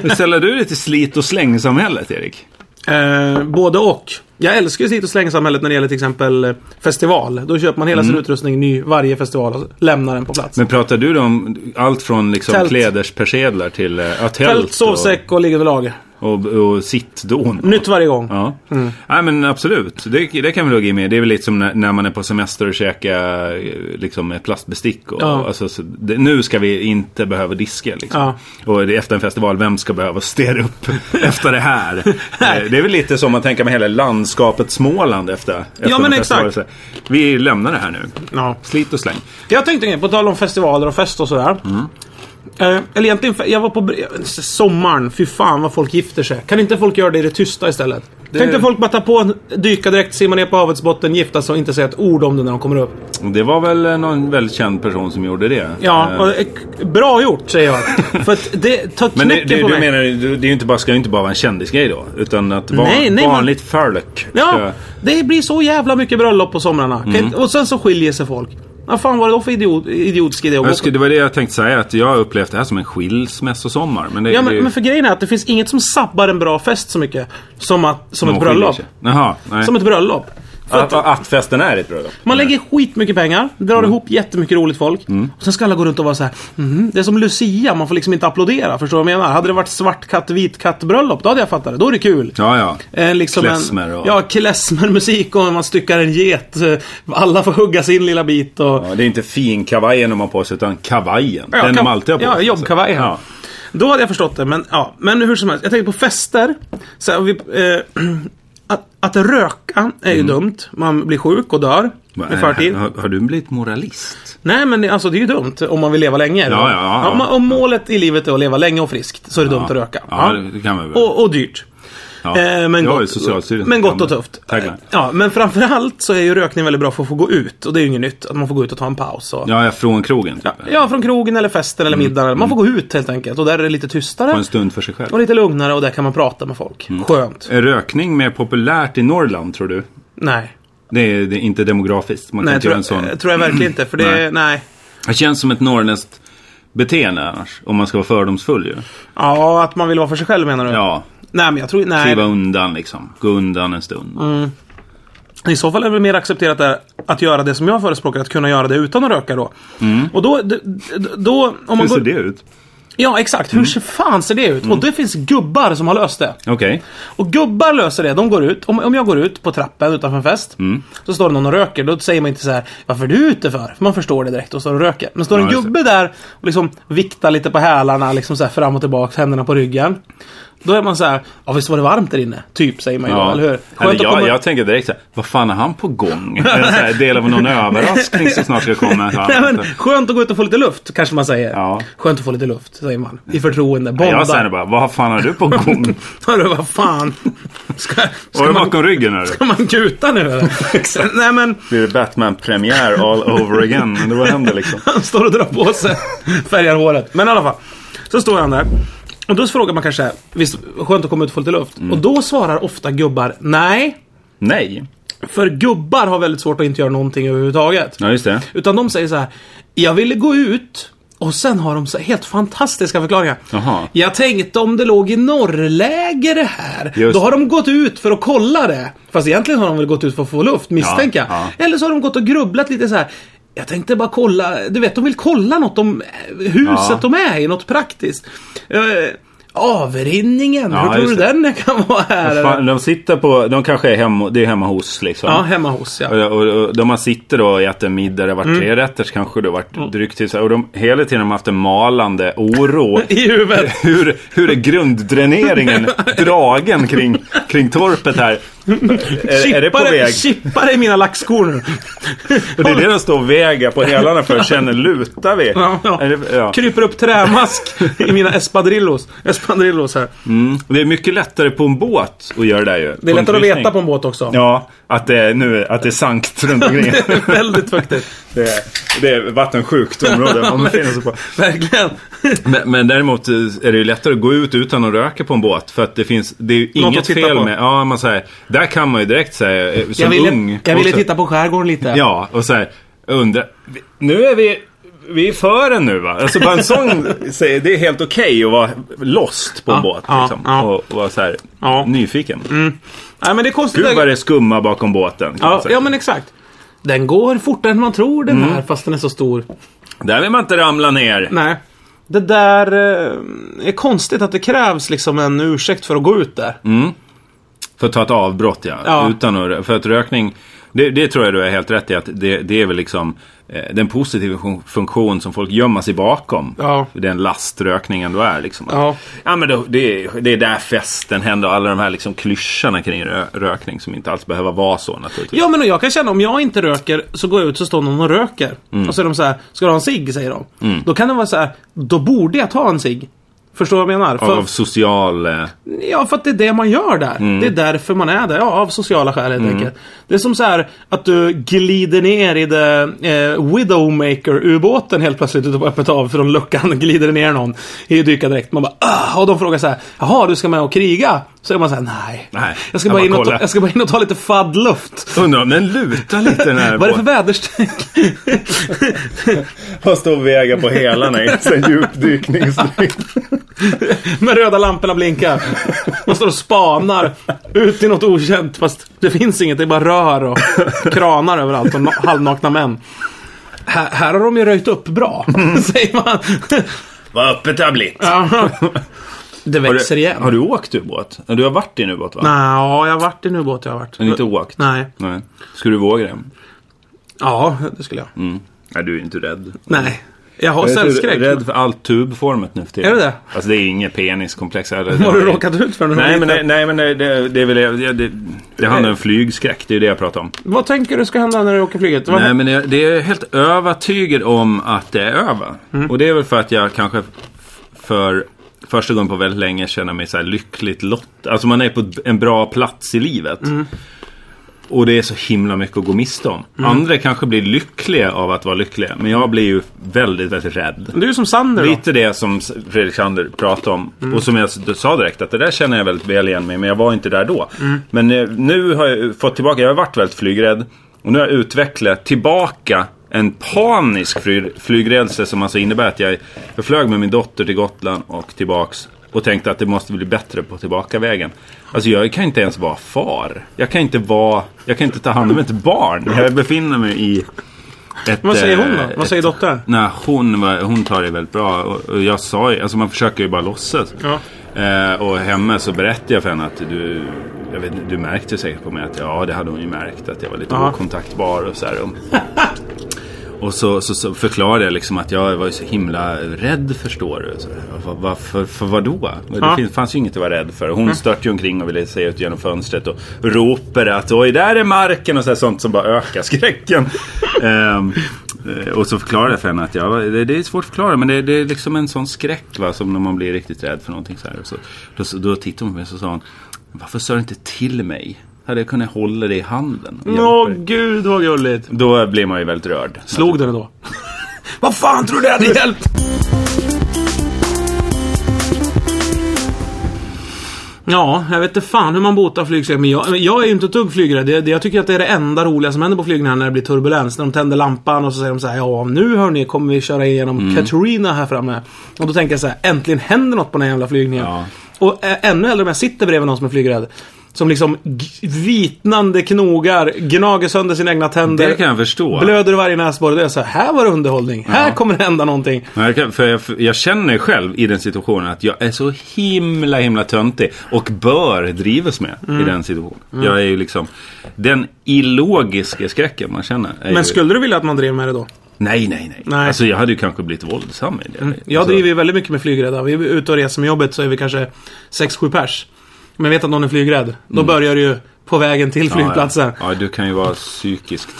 Speaker 2: Hur ställer du dig till slit och slängsamhället, Erik?
Speaker 1: Eh, både och. Jag älskar ju slit och slängsamhället när det gäller till exempel eh, festival. Då köper man hela sin utrustning ny varje festival och lämnar den på plats.
Speaker 2: Mm. Men pratar du då om allt från liksom
Speaker 1: Tält.
Speaker 2: kläderspersedlar till äh, tält?
Speaker 1: Tält,
Speaker 2: och-
Speaker 1: sovsäck Mm. och liggunderlag.
Speaker 2: Och, och sittdån.
Speaker 1: Nytt varje gång.
Speaker 2: Ja.
Speaker 1: Mm.
Speaker 2: Nej men absolut, det, det kan vi lägga med. Det är väl lite som när, när man är på semester och käkar eh, liksom, ett plastbestick. Och,
Speaker 1: Ja.
Speaker 2: alltså, så, det, nu ska vi inte behöva diska. Liksom.
Speaker 1: Ja.
Speaker 2: Och det, är efter en festival, vem ska behöva städa upp efter det här? Eh, det är väl lite som man tänker med hela landskapet Småland efter, efter
Speaker 1: Ja,
Speaker 2: en
Speaker 1: men
Speaker 2: festival.
Speaker 1: exakt.
Speaker 2: Så, Vi lämnar det här nu.
Speaker 1: Ja.
Speaker 2: Slit och släng.
Speaker 1: Jag tänkte en grej, på tal om festivaler och fest och sådär.
Speaker 2: Mm.
Speaker 1: Eh, eller egentligen, jag var på br- sommaren, fy fan vad folk gifter sig. Kan inte folk göra det i det tysta istället? Kan inte folk bara ta på en dykardräkt, simma ner på havets botten, gifta sig och inte säga ett ord om det när de kommer upp?
Speaker 2: Det var väl eh, någon väldigt känd person som gjorde det.
Speaker 1: Ja,
Speaker 2: Eh,
Speaker 1: och, eh, bra gjort säger jag. För att det tar
Speaker 2: Men det,
Speaker 1: knäcken
Speaker 2: det,
Speaker 1: på
Speaker 2: du
Speaker 1: mig.
Speaker 2: menar, det det är ju inte bara, ska ju inte bara vara en kändisgrej då. Utan att va,
Speaker 1: Nej, nej, man-
Speaker 2: vanligt folk
Speaker 1: Ja,
Speaker 2: ska- Mm.
Speaker 1: det blir så jävla mycket bröllop på somrarna. Kan inte- Och sen så skiljer sig folk. Vad fan var det då för idiot, idiotisk idé? att gå
Speaker 2: Jag
Speaker 1: på?
Speaker 2: skulle, det var det jag tänkte säga, att jag har upplevt det här som en skilsmässosommar. Men det,
Speaker 1: Ja, men,
Speaker 2: det,
Speaker 1: men för grejen är att det finns inget som sabbar en bra fest så mycket som, att, som ett
Speaker 2: man skiljer
Speaker 1: bröllop.
Speaker 2: sig. Jaha, nej.
Speaker 1: Som ett bröllop. För
Speaker 2: att,
Speaker 1: att
Speaker 2: att festen är ett bröllop.
Speaker 1: man lägger skitmycket pengar, drar
Speaker 2: Mm.
Speaker 1: ihop jättemycket roligt folk. Och sen ska alla gå runt och vara så här. "Mhm, det är som Lucia, man får liksom inte applådera. Förstår du vad jag menar? Hade det varit svart katt, vit katt bröllop, då hade jag fattat det. Då är det kul.
Speaker 2: Ja, ja.
Speaker 1: Eh, liksom
Speaker 2: Klezmer
Speaker 1: en,
Speaker 2: och-
Speaker 1: Ja, klezmermusik och man styckar en get. eh, Alla får hugga sin lilla bit och...
Speaker 2: ja. Det är inte finkavajen de har på sig, utan kavajen.
Speaker 1: Ja,
Speaker 2: den
Speaker 1: kav-
Speaker 2: de alltid har på
Speaker 1: Ja,
Speaker 2: sig.
Speaker 1: jobbkavajen.
Speaker 2: Ja.
Speaker 1: Då hade jag förstått det, men, ja. men hur som helst. Jag tänkte på fester. Så här, vi, eh, att, att röka är ju dumt. Man blir sjuk och dör i
Speaker 2: Mm. Eh,
Speaker 1: förtid.
Speaker 2: Har, har du blivit moralist?
Speaker 1: Nej, men det- alltså, det är ju dumt om man vill leva länge.
Speaker 2: ja, ja.
Speaker 1: Om, man- om målet i livet är att leva länge och friskt så är det dumt att röka.
Speaker 2: Ja,
Speaker 1: Ja.
Speaker 2: det kan man väl.
Speaker 1: Och, och dyrt.
Speaker 2: ja.
Speaker 1: Eh, men,
Speaker 2: jag har ju
Speaker 1: gott,
Speaker 2: Socialstyrelsen.
Speaker 1: men gott och tufft. Eh,
Speaker 2: Tagline.
Speaker 1: Ja, men framförallt så är ju rökning väldigt bra för att få gå ut. Och det är ju inget nytt. Att man får gå ut och ta en paus. Och...
Speaker 2: Ja, ja, från krogen. Typ.
Speaker 1: Ja, från krogen eller festen eller middagen. Man får gå ut helt enkelt. Och där är det lite
Speaker 2: Mm. På
Speaker 1: tystare.
Speaker 2: en Mm. stund för sig själv.
Speaker 1: Och lite lugnare och där kan man prata med folk. Skönt.
Speaker 2: Är rökning mer populärt i Norrland, tror du?
Speaker 1: Nej.
Speaker 2: Det är, det är inte demografiskt. Man kan
Speaker 1: Nej,
Speaker 2: inte
Speaker 1: tror
Speaker 2: göra
Speaker 1: jag,
Speaker 2: en sån. Mm.
Speaker 1: eh, tror jag verkligen inte. För det, nej.
Speaker 2: Nej. Det känns som ett norrländskt beteende annars. Om man ska vara fördomsfull ju.
Speaker 1: Ja, att man vill vara för sig själv menar du?
Speaker 2: Ja,
Speaker 1: Nej, men jag tror nej. Mm.
Speaker 2: kliva undan liksom. Gå undan en stund.
Speaker 1: I så fall är det väl mer accepterat där att göra det som jag förespråkar, att kunna göra det utan att röka då. Och då, d- d- då om
Speaker 2: Mm. Hur
Speaker 1: man
Speaker 2: ser
Speaker 1: går,
Speaker 2: det Mm. ut?
Speaker 1: Ja, exakt. Hur ser fan ser det ut? Och det finns gubbar som har löst det.
Speaker 2: Okej.
Speaker 1: Och gubbar löser det. De går ut. Om, om jag går ut på trappen utanför en fest.
Speaker 2: Mm.
Speaker 1: Så står det någon och röker. Då säger man inte så här. Varför är du ute för? För man förstår det direkt och står och röker. Men står en
Speaker 2: Ja, just
Speaker 1: gubbe där och liksom viktar lite på hälarna. Liksom så här fram och tillbaka. Händerna på ryggen. Då är man så här. Ja visst var det varmt där inne? Typ säger man ju då,
Speaker 2: Ja.
Speaker 1: eller hur?
Speaker 2: Eller
Speaker 1: att
Speaker 2: jag,
Speaker 1: komma-
Speaker 2: jag tänker direkt så här, vad fan är han på gång? Eller så här, Del av någon överraskning som snart ska komma. Ja,
Speaker 1: Nej, men, skönt att gå ut och få lite luft, kanske man säger.
Speaker 2: Ja.
Speaker 1: Skönt att få lite luft, säger man. I förtroende.
Speaker 2: jag säger
Speaker 1: Bonda.
Speaker 2: bara, vad fan har du på gång?
Speaker 1: Hörru, vad fan. Ska,
Speaker 2: Var
Speaker 1: ska,
Speaker 2: det
Speaker 1: man,
Speaker 2: bakom ryggen är
Speaker 1: ska man kuta nu eller? Nej men.
Speaker 2: Blir det Batman-premiär all over again? Men det var händer liksom.
Speaker 1: Han står och drar på sig, färgar håret. Men i alla fall. Så står han där. Och då frågar man kanske, visst skönt att komma ut och få lite luft? Och då svarar ofta gubbar nej.
Speaker 2: Nej.
Speaker 1: För gubbar har väldigt svårt att inte göra någonting överhuvudtaget.
Speaker 2: Ja, just det.
Speaker 1: Utan de säger så här, jag ville gå ut. Och sen har de så här helt fantastiska förklaringar.
Speaker 2: Jaha.
Speaker 1: Jag tänkte om det låg i norrläge det här.
Speaker 2: Just
Speaker 1: Då har de gått ut för att kolla det. Fast egentligen har de väl gått ut för att få luft, misstänker jag.
Speaker 2: ja.
Speaker 1: Eller så har de gått och grubblat lite så här. Jag tänkte bara kolla, du vet de vill kolla något om eh, huset
Speaker 2: Ja.
Speaker 1: de är i, något praktiskt. Eh, avrinningen,
Speaker 2: Ja,
Speaker 1: hur tror du
Speaker 2: just det.
Speaker 1: den kan vara här?
Speaker 2: Fan, de sitter på, de kanske är hemma, det är hemma hos liksom.
Speaker 1: ja, hemma hos ja.
Speaker 2: Och, och, och de har sitter då och äter middag, det har varit
Speaker 1: Mm.
Speaker 2: tre rätter så kanske det har varit drygt till så här. Och de, hela tiden har de haft en malande oro.
Speaker 1: I huvudet.
Speaker 2: Hur, hur är grunddräneringen dragen kring, kring torpet här? Är, är det på
Speaker 1: Chippar-
Speaker 2: väg?
Speaker 1: Chippar i mina laxskor nu.
Speaker 2: Och det är det de står och väger på hälarna för. Känner, lutar vi?
Speaker 1: Ja, ja.
Speaker 2: Är det, ja.
Speaker 1: Kryper upp trämask i mina espadrillos. Espadrillos här.
Speaker 2: Mm. Och det är mycket lättare på en båt att göra det där ju.
Speaker 1: Det är lättare att veta på en båt också.
Speaker 2: Ja, att det, är nu, att det är sankt runt omkring.
Speaker 1: Väldigt fuktigt.
Speaker 2: det, är, det är vattensjukt område man befinner sig på.
Speaker 1: Verkligen.
Speaker 2: Men, men däremot eh, är det ju lättare att gå ut utan att röka på en båt. För att det finns, det är ju
Speaker 1: Något
Speaker 2: inget
Speaker 1: att titta
Speaker 2: fel
Speaker 1: på.
Speaker 2: med... Ja, man säger, där kan man ju direkt säga, eh, som
Speaker 1: Jag ville,
Speaker 2: ung.
Speaker 1: jag ville
Speaker 2: också-
Speaker 1: titta på skärgården lite.
Speaker 2: Ja, och så här, undra. vi- Nu är vi, vi är före nu va? Alltså bara en sån, säger, det är helt okej att vara lost på en
Speaker 1: Ja,
Speaker 2: båt.
Speaker 1: ja,
Speaker 2: liksom,
Speaker 1: ja.
Speaker 2: Och, och vara så här,
Speaker 1: Ja.
Speaker 2: nyfiken.
Speaker 1: Nej, men det är konstigt.
Speaker 2: Gud vad det Alltså. skummar bakom båten. kan man
Speaker 1: ja,
Speaker 2: säga.
Speaker 1: ja, men exakt.
Speaker 2: Mm.
Speaker 1: Den går fortare än man tror den här, fast den är så stor.
Speaker 2: Där vill man inte ramla ner.
Speaker 1: Nej. Det där eh, är konstigt att det krävs liksom en ursäkt för att gå ut där.
Speaker 2: För att ta ett avbrott ja.
Speaker 1: Ja.
Speaker 2: Utan att, rö- för att rökning, det, det tror jag du är helt rätt i att det, det är väl liksom eh, den positiva fun- funktion som folk gömmer sig bakom.
Speaker 1: Ja.
Speaker 2: Den laströkningen du är liksom.
Speaker 1: Ja.
Speaker 2: ja men då, det, är- det är där festen händer och alla de här liksom klyschorna kring rö, rökning som inte alls behöver vara så naturligtvis.
Speaker 1: Ja men och jag kan känna om jag inte röker så går jag ut så står någon och röker.
Speaker 2: Mm.
Speaker 1: Och så är de så här, ska du ha en cigg? Säger de. Då kan det vara så här, då borde jag ta en cigg. Förstår du vad jag menar?
Speaker 2: Av, av
Speaker 1: För,
Speaker 2: social... eh,
Speaker 1: ja, för att det är det man gör där.
Speaker 2: Mm.
Speaker 1: Det är därför man är där. Ja, av sociala skäl helt enkelt. Det är som så här att du glider ner i det eh, Widowmaker-ubåten helt plötsligt ute på öppet hav från luckan glider det ner någon i dykardräkt. Man bara ah! Och de frågar så här, jaha du ska med och kriga? Så är man så här, nej.
Speaker 2: Nej,
Speaker 1: jag, ska
Speaker 2: jag
Speaker 1: bara
Speaker 2: bara
Speaker 1: in och ta,
Speaker 2: kollar."
Speaker 1: jag ska bara in och ta lite faddluft.
Speaker 2: Undrar om den lutar lite den här
Speaker 1: Vad är det för
Speaker 2: båten.
Speaker 1: väderstreck?
Speaker 2: Bara stå och väga på hälarna i en sån djupdykning.
Speaker 1: Med röda lamporna blinkar. Man står och spanar ut i något okänt. Fast det finns inget, det är bara rör och kranar överallt och na- halvnakna män. Här, här har de ju röjt upp bra, säger man.
Speaker 2: Vad öppet det har blivit.
Speaker 1: Mm. Ja. Det
Speaker 2: Har du-
Speaker 1: växer igen.
Speaker 2: Har du åkt ubåt? Du har varit i en ubåt va?
Speaker 1: Nej, ja, jag har varit i en ubåt, jag har varit.
Speaker 2: Men inte åkt?
Speaker 1: Nej.
Speaker 2: Nej. Skulle du våga det?
Speaker 1: Ja, det skulle jag.
Speaker 2: Mm. Nej, du är inte rädd.
Speaker 1: Nej. Jag har
Speaker 2: Jag är så
Speaker 1: cellskräck.
Speaker 2: rädd för allt tubformat nu för tiden.
Speaker 1: Är du det?
Speaker 2: Alltså det är inget peniskomplex.
Speaker 1: Vad har du råkat ut för när du var
Speaker 2: Nej, men,
Speaker 1: liten?
Speaker 2: det, nej, men det, det, det är väl... Det, det, det handlar om flygskräck. Det är det jag pratar om.
Speaker 1: Vad tänker du ska hända när du åker flyget? Vad-
Speaker 2: Nej, men det, det är helt övertygad om att det är över. Och det är väl för att jag kanske för första gången på väldigt länge känner mig så här lyckligt lott. Alltså man är på en bra plats i livet. Och det är så himla mycket att gå miste om. Andra kanske blir lyckliga av att vara lyckliga. Men jag blir ju väldigt, väldigt rädd.
Speaker 1: Du är ju som Sander då. Mm.
Speaker 2: Lite det som Fredrik Sander pratade om. Och som jag s- sa direkt att det där känner jag väldigt väl igen mig Men jag var inte där då.
Speaker 1: Mm.
Speaker 2: Men eh, nu har jag fått tillbaka, jag har varit väldigt flygrädd. Och nu har jag utvecklat tillbaka en panisk fly, flygrädsla som alltså innebär att jag, jag flög med min dotter till Gotland och tillbaks. Och tänkte att det måste bli bättre på tillbakavägen. Alltså jag kan inte ens vara far. Jag kan inte vara, jag kan inte ta hand om ett barn. Jag befinner mig i ett,
Speaker 1: Vad säger hon
Speaker 2: eh,
Speaker 1: då? Vad säger dottern?
Speaker 2: Nej, hon, var, hon tar det väldigt bra. Och- och Jag sa ju, alltså man försöker ju bara låtsas.
Speaker 1: Ja.
Speaker 2: Eh, och hemma så berättade jag för henne att du, jag vet, inte, du märkte säkert på mig att ja, det hade hon ju märkt. Att jag var lite
Speaker 1: Ja.
Speaker 2: okontaktbar och så här. Och, och så, så, så förklarade jag liksom att jag var ju så himla rädd förstår du. Så, vad, vad, för, för vad då? Det
Speaker 1: Ja.
Speaker 2: fin- fanns ju inget att vara rädd för. Hon störtade ju omkring och ville se ut genom fönstret och ropade att oj, där är marken och så här, sånt som bara ökar skräcken. Ehm, eh, och så förklarade jag för henne att jag, var- det, det är svårt att förklara men det, det är liksom en sån skräck va, som när man blir riktigt rädd för någonting. Så här. Och så, då, då tittade hon på mig och så sa hon, varför sa du inte till mig? Hade jag kunnat hålla dig i handen? och hjälpa
Speaker 1: Åh
Speaker 2: dig?"
Speaker 1: gud vad gulligt.
Speaker 2: Då blir man ju väldigt rörd.
Speaker 1: Slog du det då? Vad fan tror du det hade hjälpt? Ja, jag vet inte fan hur man botar flygskräck. Men jag, jag är ju inte ett dugg flygrädd. Jag, jag tycker att det är det enda roliga som händer på flygningar när det blir turbulens. När de tänder lampan och så säger de så här, ja nu hörni kommer vi köra igenom Katarina här framme. Och då tänker jag så här, äntligen händer något på den här jävla flygningen.
Speaker 2: Ja.
Speaker 1: Och ä- ännu hellre om jag sitter bredvid någon som är flygrädd. Som liksom g- vitnande knogar, gnager sönder sina egna tänder.
Speaker 2: Det kan jag förstå.
Speaker 1: Blöder i varje näsborre. Det är så här, här var det underhållning. Här kommer det hända någonting.
Speaker 2: Men jag, kan- för jag, för jag känner själv i den situationen att jag är så himla himla töntig och bör drivas med
Speaker 1: Mm.
Speaker 2: i den situationen. Jag är ju liksom den illogiska skräcken man känner. är ju,
Speaker 1: Men skulle du vilja att man drev med det då?
Speaker 2: Nej, nej, nej,
Speaker 1: Nej. Mm.
Speaker 2: Alltså jag hade ju kanske blivit våldsam i det.
Speaker 1: Jag
Speaker 2: Alltså,
Speaker 1: driver ju väldigt mycket med flygrädda. Vi är ute och reser med jobbet så är vi kanske 6-7 pers. Men vet att någon är flygrädd. Då börjar det ju på vägen till
Speaker 2: ja,
Speaker 1: flygplatsen.
Speaker 2: Ja, ja, du kan ju vara psykisk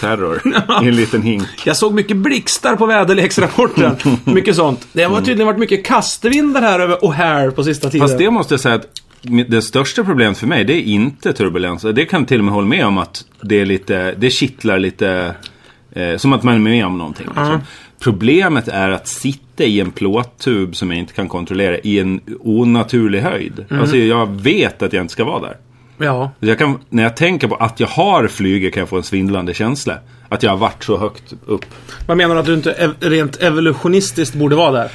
Speaker 2: terror i en liten hink.
Speaker 1: Jag såg mycket blixtar på väderleksrapporten. mycket sånt. Det har tydligen varit mycket kastevindar här över O'Hare på sista tiden.
Speaker 2: Fast det måste jag säga att mi- det största problemet för mig det är inte turbulens. Det kan jag till och med hålla med om att det, är lite, det kittlar lite. Eh, som att man är med om någonting. Liksom. Problemet är att sitta i en plåttub som jag inte kan kontrollera i en onaturlig höjd.
Speaker 1: Mm.
Speaker 2: Alltså jag vet att jag inte ska vara där.
Speaker 1: Ja.
Speaker 2: Så Jag kan, när jag tänker på att jag har flyget kan jag få en svindlande känsla. Att jag har varit så högt upp.
Speaker 1: Vad menar du att du inte ev- rent evolutionistiskt borde vara där?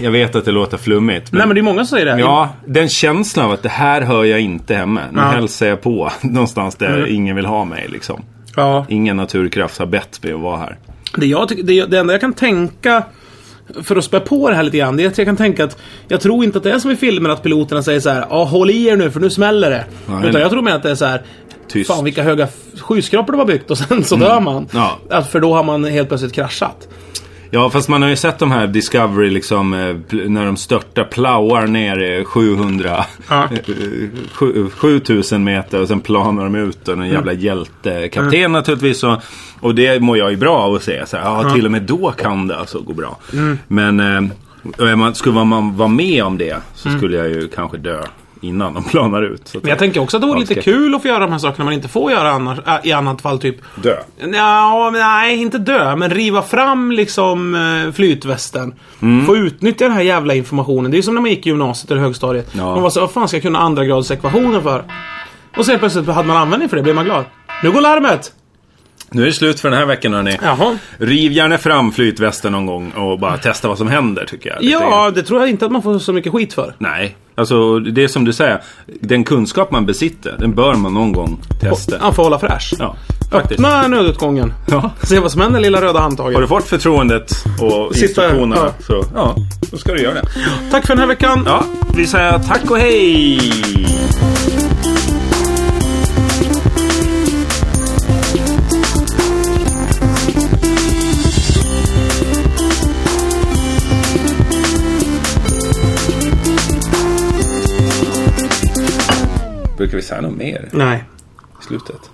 Speaker 2: Jag vet att det låter flummigt.
Speaker 1: Nej men det är många som säger det.
Speaker 2: Ja, den känslan av att det här hör jag inte hemma. Nu
Speaker 1: Ja. Mm.
Speaker 2: hälsar jag på någonstans där ingen vill ha mig. Liksom.
Speaker 1: ja.
Speaker 2: Ingen naturkraft har bett mig att vara här.
Speaker 1: Det, jag tycker- det, det enda jag kan tänka för att spä på det här lite grann, det är att jag kan tänka att jag tror inte att det är som i filmer att piloterna säger så här, ja håll i er nu för nu smäller det.
Speaker 2: Nej.
Speaker 1: Utan jag tror mer att det är så här,
Speaker 2: Tyst. Mm.
Speaker 1: fan vilka höga f- skyskrapor de har byggt och sen så dör man.
Speaker 2: Ja.
Speaker 1: Att för då har man helt plötsligt kraschat.
Speaker 2: Ja, fast man har ju sett de här Discovery liksom eh, pl- när de störtar, plowar ner eh, 700,
Speaker 1: Ja.
Speaker 2: eh, sju- 7000 meter och sen planar de ut
Speaker 1: Mm.
Speaker 2: och en jävla hjältekapten naturligtvis. Och, och det mår jag ju bra av att se. Så här, ja, till och med då kan det alltså gå bra.
Speaker 1: Mm.
Speaker 2: Men eh, och är man, skulle man vara med om det så skulle jag ju kanske dö innan de planar ut. Så att
Speaker 1: Mm. Men jag tänker också att det vore
Speaker 2: Ja,
Speaker 1: lite
Speaker 2: skräck.
Speaker 1: kul att få göra de här sakerna man inte får göra annars, äh, i annat fall. Typ
Speaker 2: dö.
Speaker 1: Ja, men nej, inte dö, men riva fram liksom eh, flytvästen.
Speaker 2: Mm.
Speaker 1: Få utnyttja den här jävla informationen. Det är ju som när man gick i gymnasiet eller högstadiet.
Speaker 2: Ja.
Speaker 1: Man var så, vad fan ska jag kunna andra grads ekvationer för? Och sen plötsligt hade man användning för det, blev man glad. Nu går larmet!
Speaker 2: Nu är det slut för den här veckan hörni.
Speaker 1: Jaha.
Speaker 2: Riv gärna fram flytvästen någon gång och bara testa vad som händer tycker jag. Lite grann.
Speaker 1: Ja, det tror jag inte att man får så mycket skit för.
Speaker 2: Nej, alltså det är som du säger. Den kunskap man besitter, den bör man någon gång testa.
Speaker 1: Man får hålla fräsch.
Speaker 2: Ja, faktiskt.
Speaker 1: Öppna nödutgången.
Speaker 2: Ja.
Speaker 1: Se vad som händer, lilla röda handtaget.
Speaker 2: Har du fått förtroendet och
Speaker 1: Sitta-
Speaker 2: instruktionerna
Speaker 1: ja.
Speaker 2: så ja, då ska du göra det.
Speaker 1: Tack för den här veckan.
Speaker 2: Ja, vi säger tack och hej! Brukar vi säga något mer?
Speaker 1: Nej.
Speaker 2: slutet.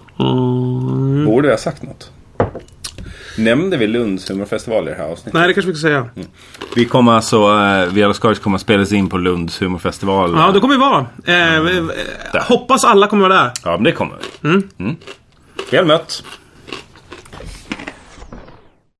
Speaker 2: Borde vi ha sagt något? Nämnde vi Lunds humorfestival i det här avsnittet?
Speaker 1: Nej, det kanske vi ska säga.
Speaker 2: Vi kommer alltså, eh, vi alla Skojs kommer att spelas in på Lunds humorfestival.
Speaker 1: Ja, då kommer vi vara.
Speaker 2: Mm.
Speaker 1: Eh, eh, hoppas alla kommer vara där.
Speaker 2: Ja, men det kommer vi. Mm. Väl mött!